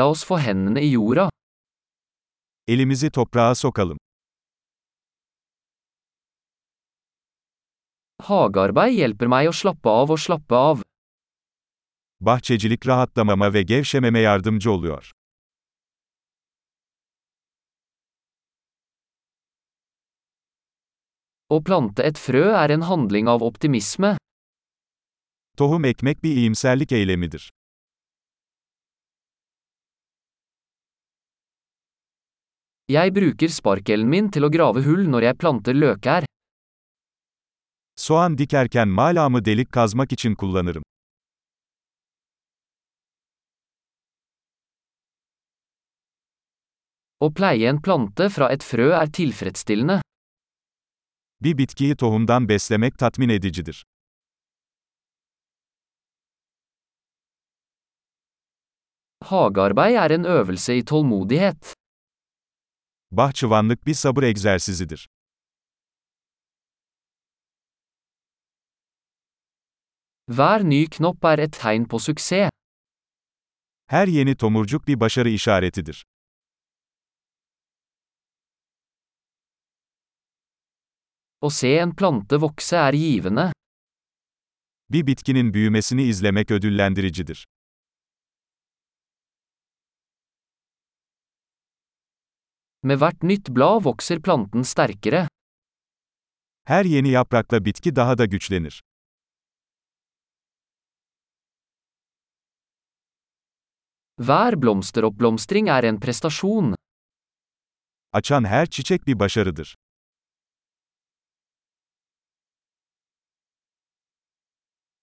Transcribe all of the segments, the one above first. La oss få hendene i jorda. Elimizi toprağa sokalım. Hagearbeid hjelper meg å slappe av og slappe av. Bahçecilik rahatlamama ve gevşememe yardımcı oluyor. Å plante et frø er en handling av optimisme. Tohum ekmek bir iyimserlik eylemidir. Jeg bruker sparkelen min til å grave hull når jeg planter løkær. Soğan dikerken malamı delik kazmak için kullanırım. Å pleie en plante fra et frø er tilfredsstillende. Bir bitkiyi tohumdan beslemek tatmin edicidir. Hagearbeid er en øvelse i tålmodighet. Bahçıvanlık bir sabır egzersizidir. Hver ny knopp er et tegn på suksess. Her yeni tomurcuk bir başarı işaretidir. Å se en plante vokse er givende. Bir bitkinin büyümesini izlemek ödüllendiricidir. Med hvert nytt blad vokser planten sterkere. Her yeni yaprakla bitki daha da güçlenir. Hver blomsteroppblomstring er en prestasjon. Açan her çiçek bir başarıdır.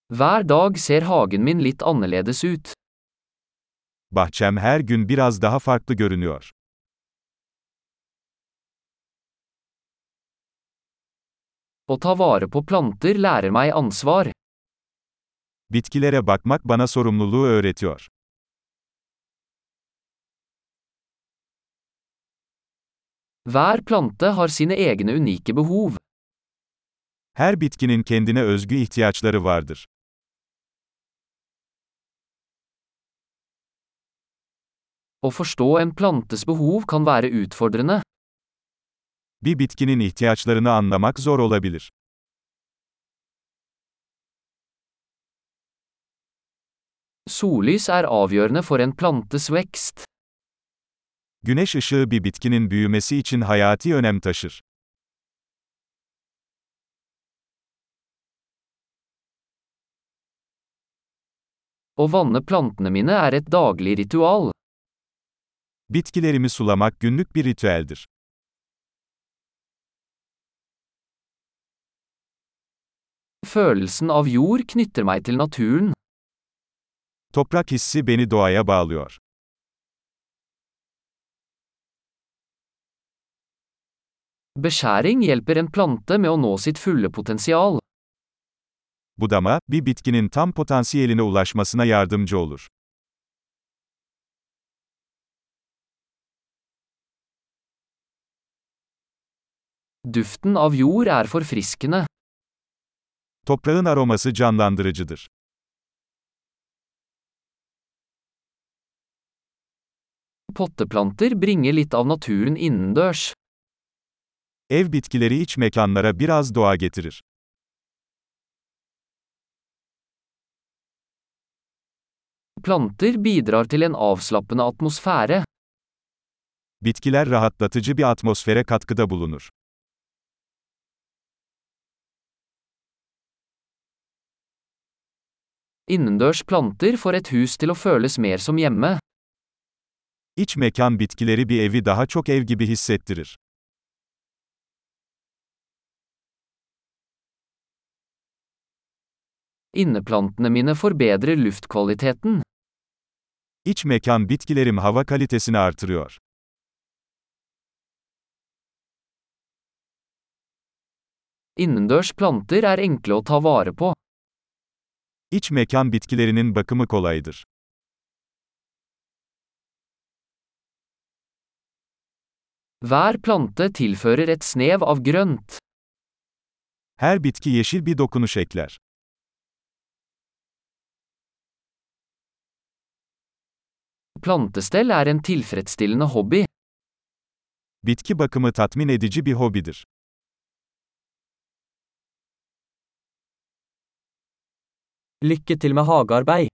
Hver dag ser hagen min litt annerledes ut. Bahçem her gün biraz daha farklı görünüyor. Å ta vare på planter lærer meg ansvar. Bitkilere bakmak bana sorumluluğu öğretiyor. Hver plante har sine egne unike behov. Her bitkinin kendine özgü ihtiyaçları vardır. Å forstå en plantes behov kan være utfordrende. Bir bitkinin ihtiyaçlarını anlamak zor olabilir. Sollys er avgjørende for en plantes vekst. Güneş ışığı bir bitkinin büyümesi için hayati önem taşır. Å vanne plantene mine er et daglig ritual. Bitkilerimi sulamak günlük bir ritüeldir. Følelsen av jord knytter meg til naturen. Toprak hissi beni doğaya bağlıyor. Beskjæring hjelper en plante med å nå sitt fulle potensial. Budama, bir bitkinin tam potansiyeline ulaşmasına yardımcı olur. Duften av jord er forfriskende. Toprağın aroması canlandırıcıdır. Potteplanter bringer litt av naturen innendørs. Ev bitkileri iç mekanlara biraz doğa getirir. Planter bidrar til en avslappende atmosfære. Bitkiler rahatlatıcı bir atmosfere katkıda bulunur. Innendørs planter får et hus til å føles mer som hjemme. İç mekan bitkileri bir evi daha çok ev gibi hissettirir. Inneplantene mine forbedrer luftkvaliteten. İç mekan bitkilerim hava kalitesini artırıyor. Innendørs planter er enkle å ta vare på. İç mekan bitkilerinin bakımı kolaydır. Hver plante tilfører et snev av grønt. Her bitki yeşil bir dokunuş ekler. Plantestell er en tilfredsstillende hobby. Bitki bakımı tatmin edici bir hobidir. Lykke til med hagearbeid.